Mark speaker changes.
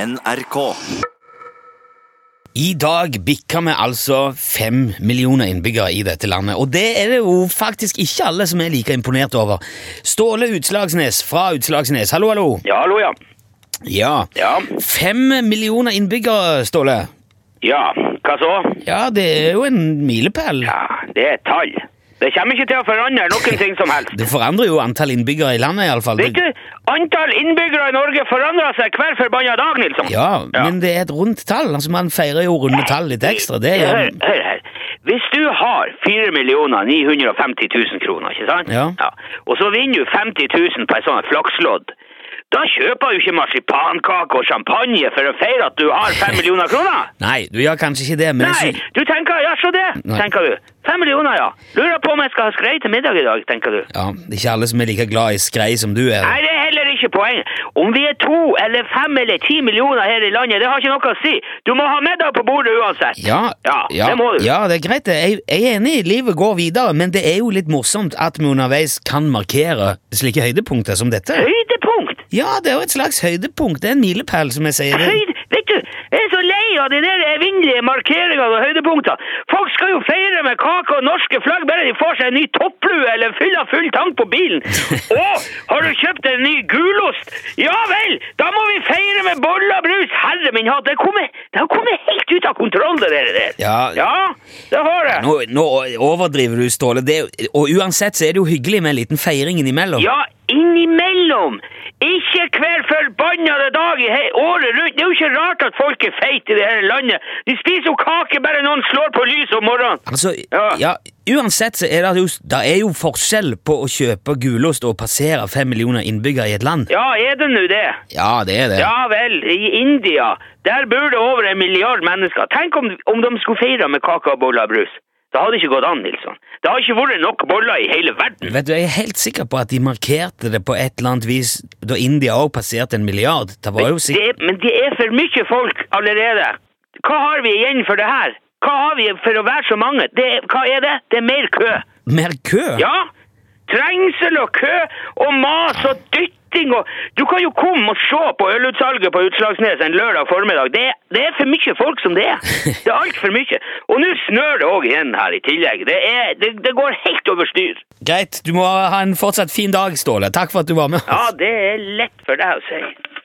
Speaker 1: NRK.
Speaker 2: I dag bikker vi altså fem millioner innbyggere i dette landet, og det er det jo faktisk ikke alle som er like imponert over. Ståle Utslagsnes fra Utslagsnes, hallo, hallo.
Speaker 3: Ja, hallo, ja.
Speaker 2: Ja.
Speaker 3: Ja.
Speaker 2: Fem millioner innbyggere, Ståle.
Speaker 3: Ja, hva så?
Speaker 2: Ja, det er jo en milepæl.
Speaker 3: Ja, det er et tall. Det kommer ikke til å forandre noen ting som helst.
Speaker 2: Det forandrer jo antall innbyggere i landet, iallfall.
Speaker 3: Vet du, antall innbyggere i Norge forandrer seg hver forbanna dag, Nilsson.
Speaker 2: Ja, men det er et rundt tall. Altså, Man feirer jo runde tall litt ekstra. Det
Speaker 3: Hør,
Speaker 2: gjør
Speaker 3: hør her. Hvis du har 4 950 000 kroner, ikke sant?
Speaker 2: Ja.
Speaker 3: Og så vinner du 50 000 på et sånt flakslodd. Da kjøper du ikke marsipankake og champagne for å feire at du har 5 millioner kroner.
Speaker 2: Nei, du gjør kanskje ikke det, men
Speaker 3: Nei,
Speaker 2: jeg sy-
Speaker 3: du tenker, ja, så det,
Speaker 2: Nei.
Speaker 3: tenker du. 5 millioner, ja. Lurer på om jeg skal ha skrei til middag i dag, tenker du.
Speaker 2: ja, det er ikke alle som er like glad i skrei som du er.
Speaker 3: Nei, det er heller ikke poenget. Om vi er to eller fem eller ti millioner her i landet, det har ikke noe å si. Du må ha middag på bordet uansett.
Speaker 2: Ja,
Speaker 3: Ja, det må du.
Speaker 2: ja, det er greit. det. Jeg, jeg er enig, livet går videre, men det er jo litt morsomt at vi underveis kan markere slike høydepunkter som dette.
Speaker 3: Høydepunkt!
Speaker 2: Ja, det er jo et slags høydepunkt. Det er en milepæl, som jeg sier. Det.
Speaker 3: Høyde... Vet du, jeg er så lei av de der evinnelige markeringene og høydepunktene. Folk skal jo feire med kake og norske flagg bare de får seg en ny topplue eller fyller full tank på bilen. Å, har du kjøpt en ny gulost? Ja vel, da må vi feire med boller og brus. Herre min hatt, det har kommet, det har kommet helt ut av kontroll, det der. der.
Speaker 2: Ja.
Speaker 3: det har det.
Speaker 2: Nå, nå overdriver du, Ståle. Det, er jo- og uansett så er det jo hyggelig med en liten feiring innimellom.
Speaker 3: Ja, innimellom. Ikke hver forbannede dag i he- året rundt. Det er jo ikke rart at folk er feite i det her landet. De spiser jo kake bare noen slår på lyset om morgenen.
Speaker 2: Altså, ja.
Speaker 3: Ja.
Speaker 2: Uansett så er det jo, det er jo forskjell på å kjøpe gulost og passere fem millioner innbyggere i et land.
Speaker 3: Ja, er det nå det?
Speaker 2: Ja, det er det.
Speaker 3: Ja vel, i India, der bor det over en milliard mennesker. Tenk om, om de skulle feire med kake og boller og brus. Det hadde ikke gått an, Nilsson. Det har ikke vært nok boller i hele verden.
Speaker 2: Vet du, Jeg er helt sikker på at de markerte det på et eller annet vis da India òg passerte en milliard. Det var jo sikkert
Speaker 3: Det, er- men det er for mye folk allerede. Hva har vi igjen for det her? Hva har vi for å være så mange? Det, er- hva er det? Det er mer kø.
Speaker 2: mer kø.
Speaker 3: Ja, trengsel og kø og mas og dytting og Du kan jo komme og se på ølutsalget på Utslagsnes en lørdag formiddag. Det, det er for mye folk som det er. Det er altfor mye. Og nå snør det òg igjen her i tillegg. Det, er, det, det går helt over styr.
Speaker 2: Greit, du må ha en fortsatt fin dag, Ståle. Takk for at du var med.
Speaker 3: Ja, det er lett for deg å si.